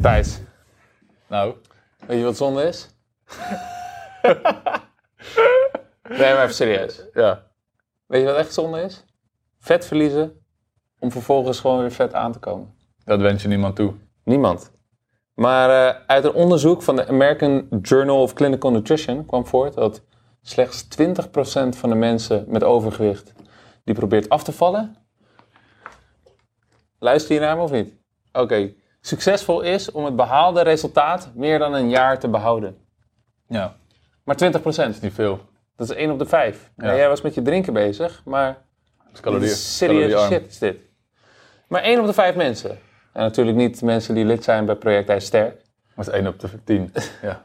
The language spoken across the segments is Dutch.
Thijs, Nou, weet je wat zonde is? nee, maar even serieus. ja. Weet je wat echt zonde is? Vet verliezen om vervolgens gewoon weer vet aan te komen. Dat wens je niemand toe. Niemand. Maar eh, uit een onderzoek van de American Journal of Clinical Nutrition kwam voort dat slechts 20% van de mensen met overgewicht die probeert af te vallen. Luister je naar me of niet? Oké. Succesvol is om het behaalde resultaat meer dan een jaar te behouden. Ja, Maar 20%. niet veel. Dat is 1 op de 5. Ja. jij was met je drinken bezig, maar Het is calorieën. serieus caloriearm. shit is dit. Maar 1 op de 5 mensen. En natuurlijk niet mensen die lid zijn bij Project Hij Sterk. Dat is 1 op de 10. Ja.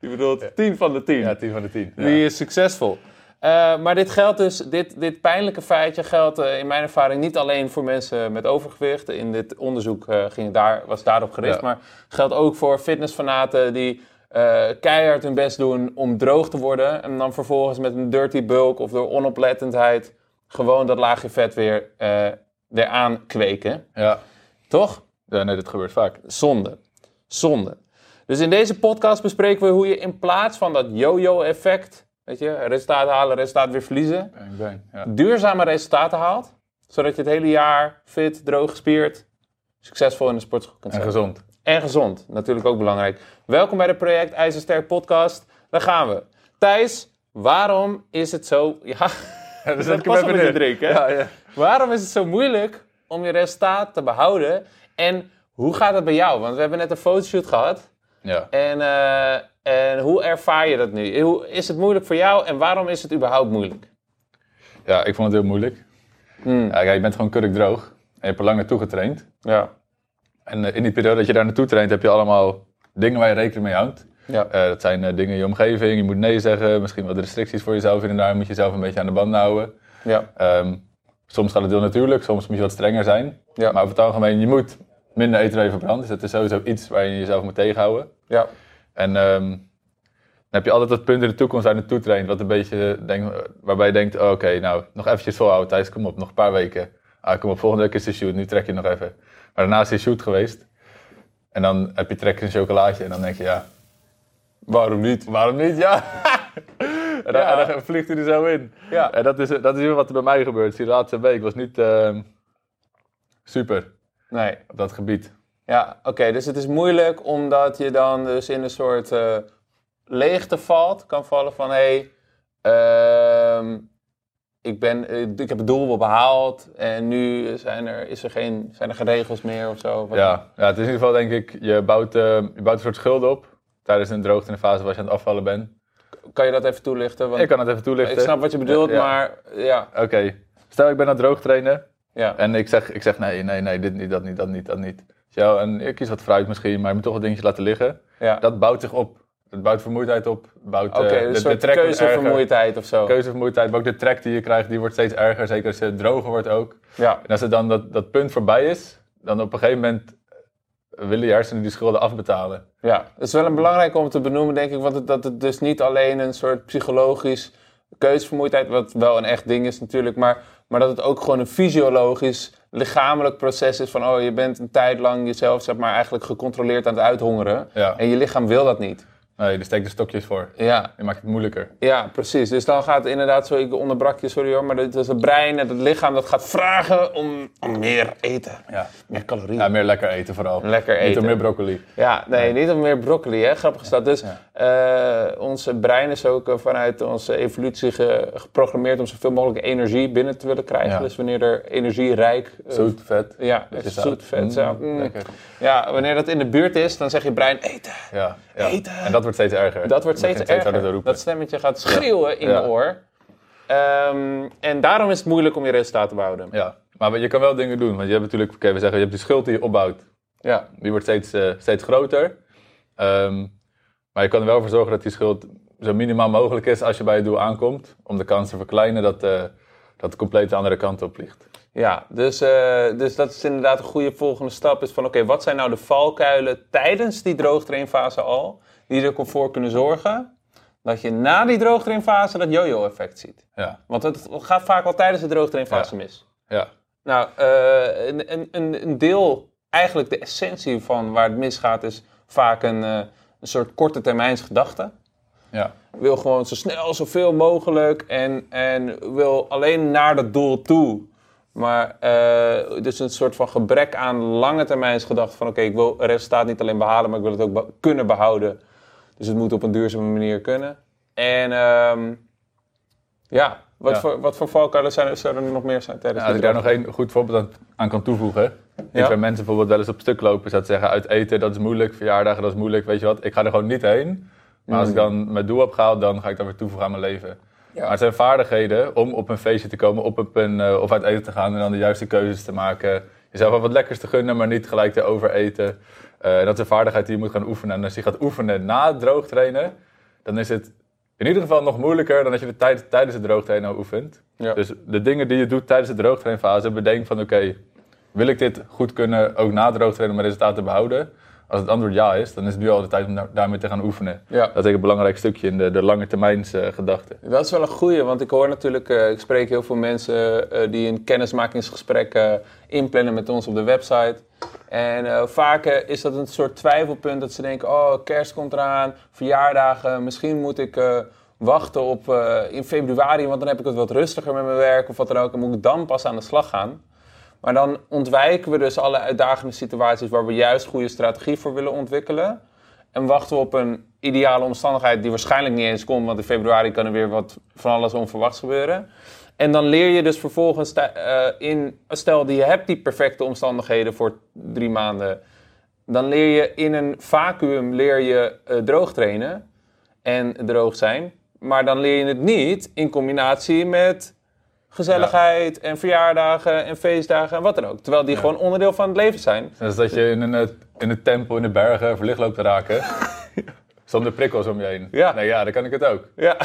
Je bedoelt 10 van de 10. ja, 10 van de 10. Ja. Die is succesvol. Eh, maar dit geldt dus, dit, dit pijnlijke feitje geldt eh, in mijn ervaring niet alleen voor mensen met overgewicht. In dit onderzoek eh, ging het daar, was daarop gericht. Ja. Maar geldt ook voor fitnessfanaten die eh, keihard hun best doen om droog te worden. En dan vervolgens met een dirty bulk of door onoplettendheid gewoon dat laagje vet weer eh, eraan kweken. ja. Toch? Ja, nee, dit gebeurt vaak. Dus Zonde. Zonde. Dus in deze podcast bespreken we hoe je in plaats van dat yo-yo-effect, weet je, resultaat halen, resultaat weer verliezen, Bang, bang. Ja. duurzame resultaten haalt, zodat je het hele jaar fit, droog gespierd, succesvol in de sportschool kunt En zijn. gezond. En gezond, natuurlijk ook belangrijk. Welkom bij de Project IJzersterk podcast. Daar gaan we. Thijs, waarom is het zo... Ja, dus Dat dat past wel met je drink, hè? Ja, ja. Waarom is het zo moeilijk om je resultaat te behouden? En hoe gaat het bij jou? Want we hebben net een fotoshoot gehad. ja. En, eh, en hoe ervaar je dat nu? Hoe- Is het moeilijk voor jou en waarom is het überhaupt moeilijk? Ja, ik vond het heel moeilijk. Hmm. Ja, kijk, je bent gewoon kurk droog. En je hebt er lang naartoe getraind. Ja. En eh, in die periode dat je daar naartoe traint, heb je allemaal dingen waar je rekening mee houdt. Ja. Eh, dat zijn eh, dingen in je omgeving. Je moet nee zeggen. Misschien wat restricties voor jezelf. En daar moet je zelf een beetje aan de band houden. ja. Ehm, soms gaat het heel natuurlijk, soms moet je wat strenger zijn. Ja. Maar over het algemeen, je moet minder eten dan je verbrandt. Dus dat is sowieso iets waar je jezelf moet tegenhouden. Ja. En ehm, dan heb je altijd dat punt in de toekomst waar je naartoe traint, wat een beetje eh, denk, waarbij je denkt, oh, oké, nou, nog eventjes volhouden Thijs, kom op, nog een paar weken. Ah, kom op, volgende week is de shoot, nu trek je nog even. Maar daarna is de shoot geweest. En dan heb je trek in een chocolaatje en dan denk je, ja, Waarom niet? waarom niet? Ja! en, dan, Ja. en dan vliegt hij er zo in. Ja. En dat is, dat is weer wat er bij mij gebeurt. Die laatste week was niet ehm, super Nee. op dat gebied. Ja, oké. Dus het is moeilijk omdat je dan dus in een soort eh, leegte valt. Kan vallen van, hé, hey, ehm, ik, ben, eh, ik heb het doel wel behaald. En nu zijn er, is er geen, zijn er geen regels meer of zo. Wat- Ja. ja, het is in ieder geval denk ik, je bouwt, ehm, je bouwt een soort schuld op tijdens een droogte in de fase waar je aan het afvallen bent. Kan je dat even toelichten? Want Ik kan het even toelichten. ik snap wat je bedoelt, Ja, ja. maar ja. Oké, stel ik ben aan het droog trainen ja. en ik zeg, ik zeg nee, nee, nee, dit niet, dat niet, dat niet, dat niet. Zo, en ik kies wat fruit misschien, maar je moet toch wat dingetjes laten liggen. ja. Dat bouwt zich op. Dat bouwt vermoeidheid op. Bouwt, eh, Oké, dus de- een de soort trek wordt erger. keuzevermoeidheid of zo. keuzevermoeidheid, maar ook de trek die je krijgt, die wordt steeds erger. Zeker als je droger wordt ook. Ja, En als het dan dat, dat punt voorbij is, dan op een gegeven moment willen je hersenen die schulden afbetalen. ja, dat is wel een belangrijke om te benoemen, denk ik. Want het, dat het dus niet alleen een soort psychologisch keuzevermoeidheid, wat wel een echt ding is natuurlijk, maar, maar dat het ook gewoon een fysiologisch, lichamelijk proces is van, oh, je bent een tijd lang jezelf, zeg maar, eigenlijk gecontroleerd aan het uithongeren. Ja. En je lichaam wil dat niet. Nee, daar steek de stokjes voor. Ja, Je maakt het moeilijker. Ja, precies. Dus dan gaat inderdaad, zo, ik onderbrak je, sorry hoor, maar dat is het brein en het lichaam dat gaat vragen om, om meer eten. Ja. Meer calorieën. ja, Nou, meer lekker eten vooral. Lekker Niet eten. om meer broccoli. Ja, nee, niet om meer broccoli, hè? Grappig is dat. Dus eh, ons brein is ook eh, vanuit onze evolutie ge- geprogrammeerd om zoveel mogelijk energie binnen te willen krijgen. Ja. Dus wanneer er energierijk. eh, Zoet, vet. Ja, beetje zoet, zout. vet, Mm, zout. Mm. lekker. Ja, wanneer dat in de buurt is, dan zeg je brein eten. Ja, ja. Eten. En dat wordt steeds erger. Dat wordt Je steeds begint harder te erger. roepen. Dat stemmetje gaat schreeuwen in Ja. je oor. Ehm, en daarom is het moeilijk om je resultaten te behouden. Ja, maar je kan wel dingen doen. Want je hebt natuurlijk, oké, we zeggen, je hebt die schuld die je opbouwt. Ja. Die wordt steeds, eh, steeds groter. Ehm, maar je kan er wel voor zorgen dat die schuld zo minimaal mogelijk is als je bij het doel aankomt. Om de kans te verkleinen dat, eh, dat het compleet de andere kant op ligt. Ja, dus, eh, dus dat is inderdaad een goede volgende stap. Is van oké, wat zijn nou de valkuilen tijdens die droogtrainfase al? Die er voor kunnen zorgen dat je na die droogtrainfase dat yo-yo-effect ziet. Ja, Want het gaat vaak al tijdens de droogtrainfase mis. ja. Nou, eh, een, een, een, een deel eigenlijk de essentie van waar het misgaat is vaak een, eh, een soort korte termijns gedachte. Ja. Wil gewoon zo snel, zoveel mogelijk en, en wil alleen naar dat doel toe. Maar eh, dus een soort van gebrek aan lange termijns gedachte van oké, ik wil het resultaat niet alleen behalen, maar ik wil het ook be- kunnen behouden. Dus het moet op een duurzame manier kunnen. En ehm, ja, wat, Ja. Voor, wat voor valkuilen zijn er, zouden er nog meer zijn tijdens Ja, als ik dit daar nog één goed voorbeeld aan, aan kan toevoegen. Ik Ja. waar mensen bijvoorbeeld wel eens op stuk lopen. Ze zeggen uit eten, dat is moeilijk. Verjaardagen, dat is moeilijk. Weet je wat, ik ga er gewoon niet heen. Maar als ik dan mijn doel heb gehaald, dan ga ik dat weer toevoegen aan mijn leven. Maar het zijn vaardigheden om op een feestje te komen op een, eh, of uit eten te gaan en dan de juiste keuzes te maken. Jezelf wel wat lekkers te gunnen, maar niet gelijk te overeten. Eh, dat is een vaardigheid die je moet gaan oefenen. En als je gaat oefenen na het droog trainen, dan is het in ieder geval nog moeilijker dan als je het tijd, tijdens het droogtrainen oefent. Ja. Dus de dingen die je doet tijdens de droogtrainfase, bedenk van oké, wil ik dit goed kunnen ook na het droogtrainen mijn resultaten behouden? Als het antwoord ja is, dan is het nu al de tijd om daar- daarmee te gaan oefenen. Ja. Dat is een belangrijk stukje in de, de lange termijns eh, gedachte. Dat is wel een goeie, want ik hoor natuurlijk, eh, ik spreek heel veel mensen eh, die een kennismakingsgesprek eh, inplannen met ons op de website. En eh, vaak eh, is dat een soort twijfelpunt dat ze denken, oh kerst komt eraan, verjaardagen, misschien moet ik eh, wachten op eh, in februari, want dan heb ik het wat rustiger met mijn werk of wat dan ook. En moet ik dan pas aan de slag gaan. Maar dan ontwijken we dus alle uitdagende situaties waar we juist goede strategie voor willen ontwikkelen. En wachten we op een ideale omstandigheid die waarschijnlijk niet eens komt, want in februari kan er weer wat van alles onverwachts gebeuren. En dan leer je dus vervolgens tij- eh, in, stel die je hebt die perfecte omstandigheden voor drie maanden, dan leer je in een vacuüm leer je eh, droog trainen en droog zijn. Maar dan leer je het niet in combinatie met gezelligheid en verjaardagen en feestdagen en wat dan ook. Terwijl die gewoon onderdeel van het leven zijn. Dat is dat je in een, eh, in een tempel in de bergen verlicht loopt te raken. Zonder prikkels om je heen. Ja. Nee, ja, dan kan ik het ook. Ja.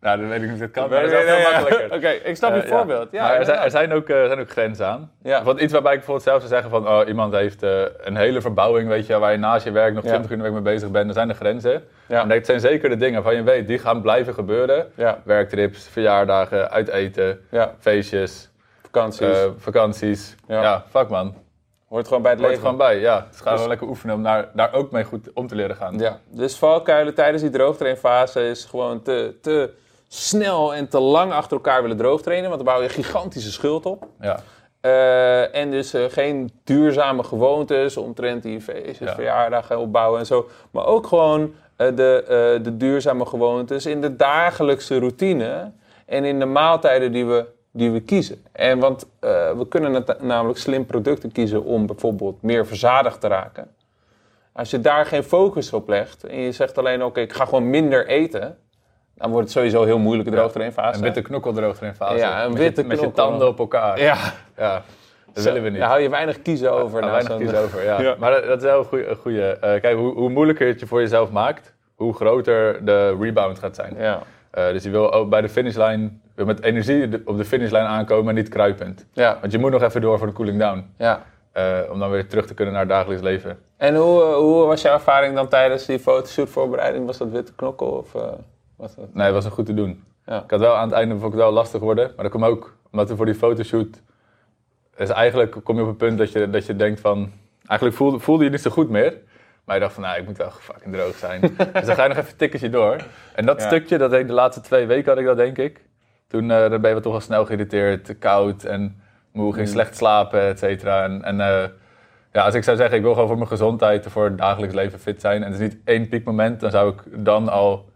Nou, dan weet ik niet of het kan, maar Nee, dat is wel nee, veel nee, ja. makkelijker. Oké, ik snap je Eh, voorbeeld. Ja, Maar er, zijn, inderdaad. er zijn ook, eh, er zijn ook grenzen aan. Ja. Want iets waarbij ik bijvoorbeeld zelf zou zeggen van... Oh, iemand heeft eh, een hele verbouwing, weet je... waar je naast je werk nog Ja. 20 uur in de week mee bezig bent. Er zijn er grenzen. Ja. Maar dat zijn zeker de dingen van je weet... die gaan blijven gebeuren. Ja. Werktrips, verjaardagen, uit eten, Ja. feestjes, vakanties. eh, vakanties. Dus- Ja. Ja. fuck man. Hoort gewoon bij het Hoort leven. er gewoon bij, ja. Dus ga Dus- wel lekker oefenen om daar, daar ook mee goed om te leren gaan. Ja. Dus valkuilen tijdens die droogtrainfase is gewoon te, te snel en te lang achter elkaar willen droogtrainen. Want dan bouw je gigantische schuld op. Ja. Eh, en dus eh, geen duurzame gewoontes omtrent die feestjes, Ja. verjaardagen eh, opbouwen en zo. Maar ook gewoon eh, de, eh, de duurzame gewoontes in de dagelijkse routine en in de maaltijden die we, die we kiezen. En want eh, we kunnen nat- namelijk slim producten kiezen om bijvoorbeeld meer verzadigd te raken. Als je daar geen focus op legt en je zegt alleen oké, ik ga gewoon minder eten. Dan wordt het sowieso heel moeilijk droog erin fase. Een witte knokkel eroverheen fase. Ja, een Met witte je, Met je knokkel. tanden op elkaar. Ja, Ja. zo- Dat willen we niet. Daar hou je weinig kiezen over. Ja, na weinig zo'n- kiezen over, ja. Ja. Maar dat, dat is wel een goeie. een goeie. Eh, kijk, hoe, hoe moeilijker je het je voor jezelf maakt, hoe groter de rebound gaat zijn. Ja. Eh, dus je wil ook bij de finishlijn, wil met energie de- op de finishlijn aankomen en niet kruipend. Ja. Want je moet nog even door voor de cooling down, ja. eh, om dan weer terug te kunnen naar het dagelijks leven. En hoe, eh, hoe was jouw ervaring dan tijdens die fotoshootvoorbereiding? Was dat witte knokkel of eh, was dat? Nee, dat was nog goed te doen. Ja. Ik had wel aan het einde vond ik het wel lastig worden, maar dat komt ook omdat we voor die fotoshoot, is eigenlijk kom je op een punt dat je, dat je denkt van, eigenlijk voelde, voelde je niet zo goed meer. Maar je dacht van, nou, ik moet wel fucking droog zijn. dus dan ga je nog even een tikkertje door. En dat Ja. stukje, dat ik de laatste twee weken had ik dat, denk ik. Toen eh, dan ben je wel toch wel snel geïrriteerd, koud en moe, Mm. ging slecht slapen, et cetera. En, en eh, ja, als ik zou zeggen, ik wil gewoon voor mijn gezondheid en voor het dagelijks leven fit zijn. En het is niet één piekmoment, dan zou ik dan al,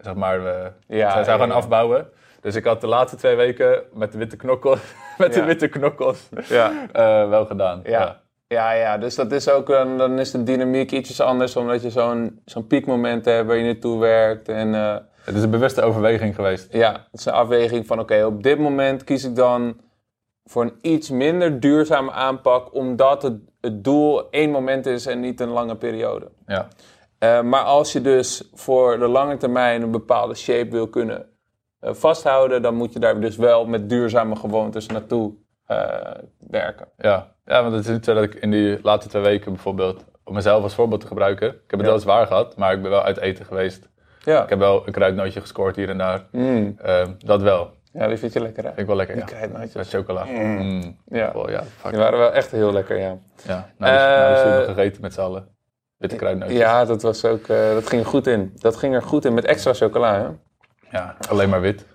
zeg maar, eh, Ja, zou, ja, zou gaan ja. afbouwen. Dus ik had de laatste twee weken met de witte knokkels, met Ja. de witte knokkels Ja. eh, wel gedaan. Ja. ja, ja. Dus dat is ook een, dan is de dynamiek ietsjes anders, omdat je zo'n zo'n piekmoment hebt waar je naartoe werkt. En eh, Het is een bewuste overweging geweest. ja, het is een afweging van oké, op dit moment kies ik dan voor een iets minder duurzame aanpak, omdat het, het doel één moment is en niet een lange periode. Ja. Eh, maar als je dus voor de lange termijn een bepaalde shape wil kunnen eh, vasthouden, dan moet je daar dus wel met duurzame gewoontes naartoe eh, werken. Ja. ja, want het is niet zo dat ik in die laatste twee weken bijvoorbeeld, om mezelf als voorbeeld te gebruiken, ik heb het wel zwaar gehad, maar ik ben wel uit eten geweest. Ja, Ik heb wel een kruidnootje gescoord hier en daar. Ehm, dat wel. Ja, die vind je lekker, hè? Vind ik wel lekker, Mm. Die ja. krijtnootjes. Met chocola. Mm. Ja, Oh ja, fuck. die waren wel echt heel lekker, ja. Ja, nou, die- nou, die Eh, is nog gegeten met z'n allen. Witte kruidnootjes. Ja. Ja, dat, was ook, eh, dat ging er goed in. Dat ging er goed in met extra chocola, hè? alleen maar wit.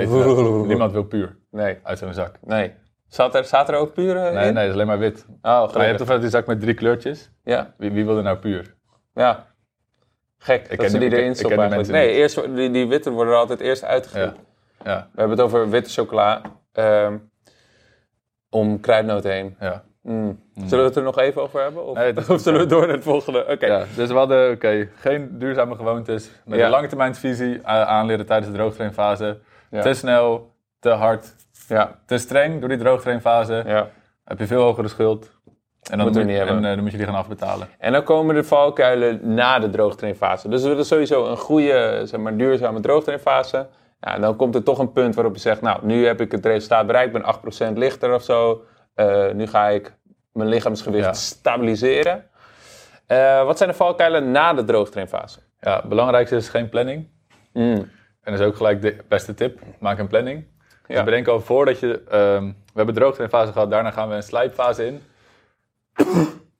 eet dat? Niemand wil puur Nee, uit zo'n zak. nee. Zat er, zat er ook puur eh, Nee, Ah, in? nee, het is alleen maar wit. Oh, Maar je hebt gelukkig. toch wel die zak met drie kleurtjes? Ja, Wie, wie wil er nou puur? ja. Gek ken dat ze die- die ik ken- erin ik ken stoppen die eigenlijk. mensen Nee, eerst, die, die witte worden er altijd eerst uitgegeven. Ja. Ja, We hebben het over witte chocola ehm, om kruidnoot heen. ja. Mm. Zullen we het er nog even over hebben? Of, Nee, dat is of zullen we door naar het volgende? Oké. ja. Dus we hadden, oké, geen duurzame gewoontes. Met Ja. een langetermijnvisie a- aanleren tijdens de droogtrainfase. Ja. Te snel, te hard, Ja. te streng door die droogtrainfase. ja. Heb je veel hogere schuld. En dan, Moet er moet- niet hebben. en, eh, dan moet je die gaan afbetalen. En dan komen de valkuilen na de droogtrainfase. Dus we willen sowieso een goede, zeg maar, duurzame droogtrainfase. Ja, en dan komt er toch een punt waarop je zegt, nou, nu heb ik het resultaat bereikt. Ik ben 8% lichter of zo. Eh, nu ga ik mijn lichaamsgewicht Ja. stabiliseren. Eh, wat zijn de valkuilen na de droogtrainfase? Ja, het belangrijkste is geen planning. Mm. En dat is ook gelijk de beste tip. Maak een planning. Ja. Dus bedenk al voordat je... ehm, we hebben droogtrainfase gehad, daarna gaan we een slijpfase in.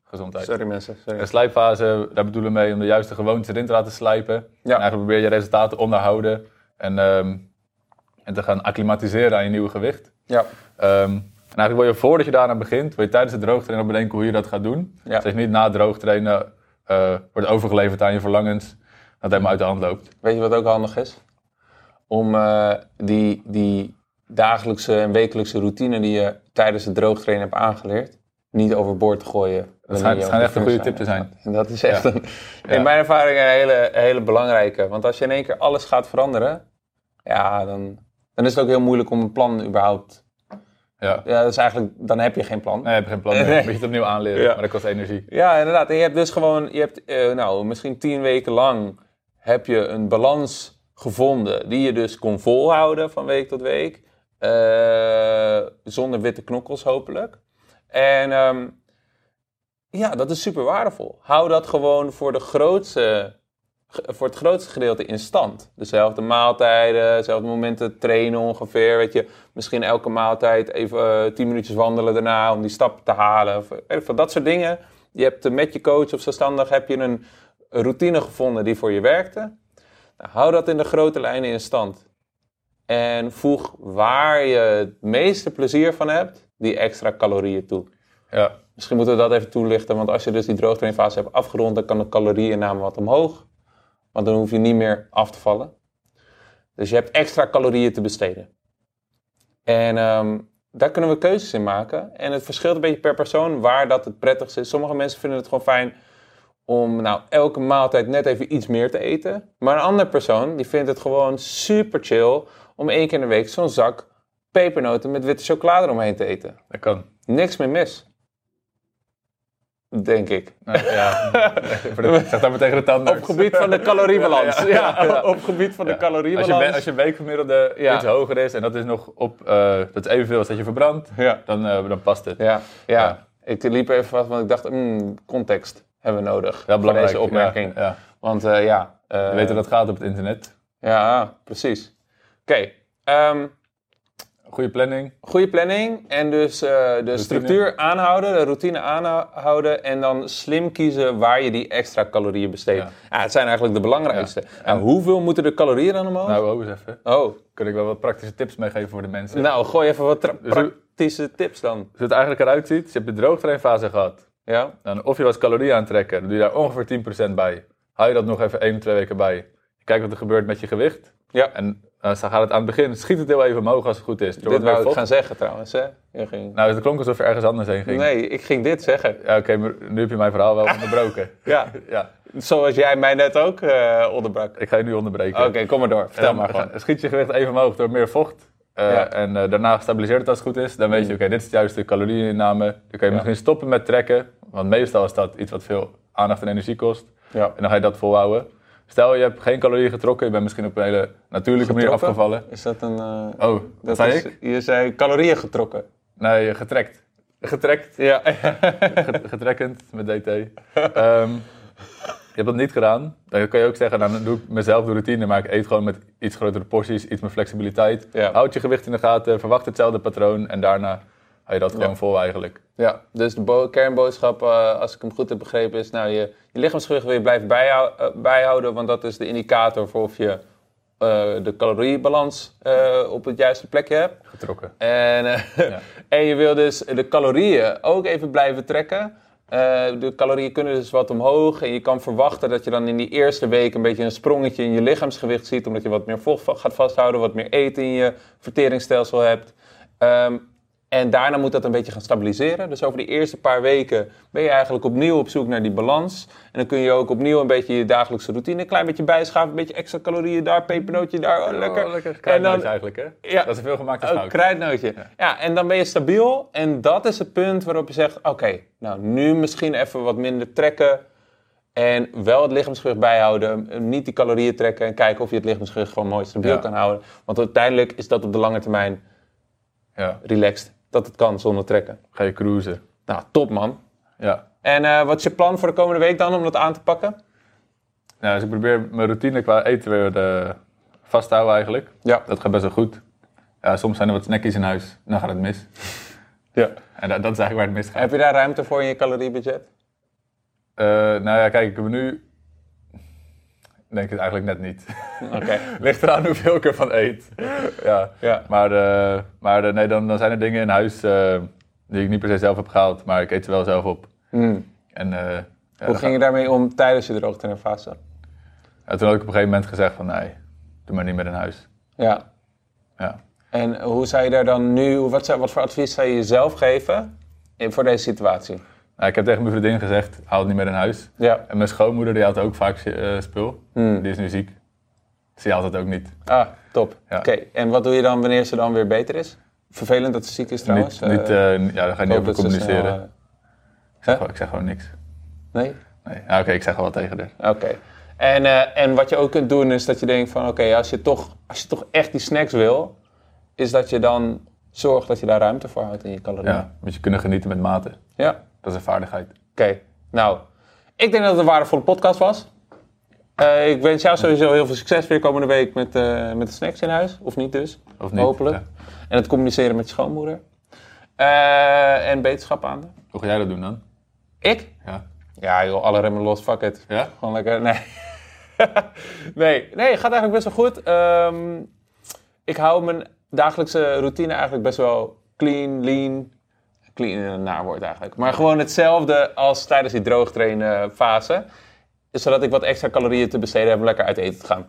Gezondheid. Sorry mensen, sorry. Een slijpfase, daar bedoelen we mee om de juiste gewoontes erin te laten slijpen. En eigenlijk probeer je resultaten onderhouden en, ehm, en te gaan acclimatiseren aan je nieuwe gewicht. Ja, Ehm, en eigenlijk wil je voordat je daaraan begint, wil je tijdens het droogtrainen al bedenken hoe je dat gaat doen. Ja. Dus dat je niet na het droogtrainen eh, wordt overgeleverd aan je verlangens, dat het helemaal uit de hand loopt. weet je wat ook handig is? Om eh, die, die dagelijkse en wekelijkse routine die je tijdens het droogtrainen hebt aangeleerd, niet overboord te gooien. wanneer schijnt- je op schijnt echt de een finish goede tip te zijn. En dat is echt Ja. een, Ja. in mijn ervaring een hele, een hele belangrijke. Want als je in één keer alles gaat veranderen, ja, dan, dan is het ook heel moeilijk om een plan überhaupt... Ja. Ja, dat is eigenlijk, dan heb je geen plan. Nee, je hebt geen plan meer. Nee. Moet je het opnieuw aanleren, Ja. maar dat kost energie. Ja, inderdaad. En je hebt dus gewoon, je hebt, eh, nou, misschien tien weken lang heb je een balans gevonden die je dus kon volhouden van week tot week. Eh, zonder witte knokkels hopelijk. En ehm, ja, dat is super waardevol. Hou dat gewoon voor, de grootste, ge- voor het grootste gedeelte in stand. Dezelfde maaltijden, dezelfde momenten trainen ongeveer. Weet je, misschien elke maaltijd even eh, tien minuutjes wandelen daarna om die stap te halen. Of, weet ik veel, dat soort dingen. Je hebt eh, met je coach of zelfstandig heb je een routine gevonden die voor je werkte. Nou, hou dat in de grote lijnen in stand. En voeg waar je het meeste plezier van hebt, die extra calorieën toe. Ja. Misschien moeten we dat even toelichten, want als je dus die droogtrainfase hebt afgerond, dan kan de calorieinname wat omhoog. Want dan hoef je niet meer af te vallen. Dus je hebt extra calorieën te besteden. En ehm, daar kunnen we keuzes in maken. En het verschilt een beetje per persoon waar dat het prettigst is. Sommige mensen vinden het gewoon fijn om nou, elke maaltijd net even iets meer te eten. Maar een andere persoon die vindt het gewoon super chill om één keer in de week zo'n zak pepernoten met witte chocolade eromheen te eten Dat kan. niks meer mis. Denk ik. Nou, ja. Zeg dat maar tegen de tandarts. Op gebied van de caloriebalans. Ja, Ja. op gebied van de Als je, caloriebalans. we- als je weekgemiddelde Ja. iets hoger is en dat is nog op, eh, dat is evenveel als dat je verbrandt, Ja. dan, eh, dan past het. Ja, ja. Ja. ik liep even vast, want ik dacht, hmm, context hebben we nodig Dat is voor belangrijk. deze opmerking. Ja, ja. Want eh, ja, eh, We weten dat gaat op het internet. ja, precies. Oké, ehm, Goede planning. goede planning en dus eh, de structuur aanhouden, de routine aanhouden en dan slim kiezen waar je die extra calorieën besteedt. Ja. Ja. het zijn eigenlijk de belangrijkste. En hoeveel moeten de calorieën dan omhoog? Nou, hou eens even. oh. Kun ik wel wat praktische tips meegeven voor de mensen. Nou, gooi even wat tra- Dus- praktische tips dan. Dus hoe het eigenlijk eruit ziet, dus je hebt de droogtrainfase gehad. Ja? Dan of je was calorieën aantrekken, dan doe je daar ongeveer 10% bij. Hou je dat nog even 1, 2 weken bij. Kijk wat er gebeurt met je gewicht. Ja. En dan gaat het aan het begin, schiet het heel even omhoog als het goed is. Je wordt Dit meer wou ik vocht. gaan zeggen trouwens, hè? Je ging... Nou, het klonk alsof je ergens anders heen ging. Nee, ik ging dit zeggen. Ja, oké, maar nu heb je mijn verhaal wel onderbroken. Ja, ja, zoals jij mij net ook eh, onderbrak. Oké, ik ga je nu onderbreken. kom maar door. Vertel Dan maar gewoon. ga- Schiet je gewicht even omhoog door meer vocht. eh, Ja. Mm. En eh, daarna stabiliseert het als het goed is. Dan weet je, oké, dit is de juiste calorieinname. Dan kan je misschien stoppen met trekken. Want meestal is dat iets wat veel aandacht en energie kost. Ja. En dan ga je dat volhouden. Stel, je hebt geen calorieën getrokken. Je bent misschien op een hele natuurlijke manier Getrokken? afgevallen. Is dat een... eh, Oh, dat, dat zei is- ik? Je zei calorieën getrokken. Nee, getrekt. Getrekt. Ja. Get- Getrekkend met DT. Ehm, hebt dat niet gedaan, dan kan je ook zeggen, nou, dan doe ik mezelf de routine, maar ik eet gewoon met iets grotere porties, iets meer flexibiliteit. Ja. Houd je gewicht in de gaten, verwacht hetzelfde patroon en daarna hou je dat gewoon vol eigenlijk. Ja, dus de bo- kernboodschap, eh, als ik hem goed heb begrepen, is nou, je, je lichaamsgewicht wil je blijven bijhou- eh, bijhouden, want dat is de indicator voor of je eh, de caloriebalans eh, op het juiste plekje hebt. Getrokken. En, eh, Ja. en je wil dus de calorieën ook even blijven trekken. Eh, de calorieën kunnen dus wat omhoog. En je kan verwachten dat je dan in die eerste week een beetje een sprongetje in je lichaamsgewicht ziet. Omdat je wat meer vocht va- gaat vasthouden, wat meer eten in je verteringsstelsel hebt. Ehm, en daarna moet dat een beetje gaan stabiliseren. Dus over die eerste paar weken ben je eigenlijk opnieuw op zoek naar die balans. En dan kun je ook opnieuw een beetje je dagelijkse routine een klein beetje bijschaven. Een beetje extra calorieën daar, pepernootje daar, oh, lekker. Oh, lekker en kruidnootjes dan, eigenlijk, hè? Ja. Oh, Dat is een veelgemaakte ook fout. kruidnootje. Ja. en dan ben je stabiel. En dat is het punt waarop je zegt: oké, nou nu misschien even wat minder trekken. En wel het lichaamsgewicht bijhouden. eh, Niet die calorieën trekken. En kijken of je het lichaamsgewicht gewoon mooi stabiel Ja. kan houden. Want uiteindelijk is dat op de lange termijn Ja. relaxed. Dat het kan zonder trekken. Ga je cruisen. Nou, top man. Ja. En eh, wat is je plan voor de komende week dan om dat aan te pakken? Nou, dus ik probeer mijn routine qua eten weer eh, vast te houden eigenlijk. Ja. Dat gaat best wel goed. Ja, soms zijn er wat snackies in huis, dan gaat het mis. ja. En dat, dat is eigenlijk waar het misgaat. Heb je daar ruimte voor in je caloriebudget? Eh, nou ja, kijk, ik heb nu... Denk ik het eigenlijk net niet. Oké. Ligt eraan hoeveel ik ervan eet. ja. Ja. Maar, eh, maar eh, nee, dan, dan zijn er dingen in huis eh, die ik niet per se zelf heb gehaald, maar ik eet ze wel zelf op. En eh, ja, dan Mm. Hoe ga- ging je daarmee om tijdens je droogte en fase? ja, toen had ik op een gegeven moment gezegd van nee, doe maar niet meer in huis. Ja. Ja. En hoe zou je daar dan nu, wat, zou, wat voor advies zou je jezelf geven in, voor deze situatie? Nou, ik heb tegen mijn vriendin gezegd, haal het niet meer in huis. Ja. En mijn schoonmoeder die had ook vaak eh, spul. Mm. Die is nu ziek. Ze haalt het ook niet. Ah, top. Ja. Oké, en wat doe je dan wanneer ze dan weer beter is? Vervelend dat ze ziek is trouwens. niet, niet, Eh, eh, n- ja, daar ga je niet hoop over dat ze snel, communiceren. eh, ik, zeg hè? gewoon, ik zeg gewoon niks. nee? Nee. Ja, Oké, ik zeg wel wat tegen haar. Oké. En, eh, en wat je ook kunt doen is dat je denkt van oké, als, je toch- als je toch echt die snacks wil, is dat je dan zorgt dat je daar ruimte voor houdt in je calorieën. Ja, moet je kunnen genieten met mate. ja. Oké, Dat is een vaardigheid. nou, ik denk dat het een waardevolle podcast was. Eh, ik wens jou sowieso heel veel succes weer komende week met, eh, met de snacks in huis. Of niet dus. Of niet. Hopelijk. Ja. En het communiceren met je schoonmoeder. Eh, en beterschap aan. haar. Hoe ga jij dat doen dan? Ik? Ja. Ja joh, alle remmen los, fuck it. Ja? Gewoon lekker, nee. nee. Nee, gaat eigenlijk best wel goed. Ehm, ik hou mijn dagelijkse routine eigenlijk best wel clean, lean. Clean is een naarwoord eigenlijk. Maar gewoon hetzelfde als tijdens die droogtrainen fase. Zodat ik wat extra calorieën te besteden heb om lekker uit eten te gaan.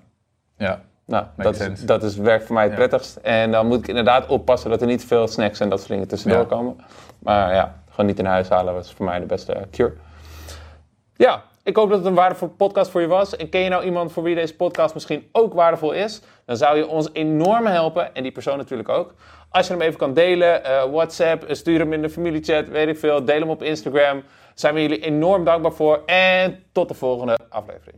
Ja. Nou, Makes dat is, sense. dat is werkt voor mij het prettigst. En dan moet ik inderdaad oppassen dat er niet veel snacks en dat soort dingen tussendoor Ja. komen. Maar ja, gewoon niet in huis halen was voor mij de beste cure. Ja, ik hoop dat het een waardevolle podcast voor je was. En ken je nou iemand voor wie deze podcast misschien ook waardevol is? Dan zou je ons enorm helpen en die persoon natuurlijk ook. Als je hem even kan delen, eh, WhatsApp, eh, stuur hem in de familiechat, weet ik veel. Deel hem op Instagram. Zijn we jullie enorm dankbaar voor. En tot de volgende aflevering.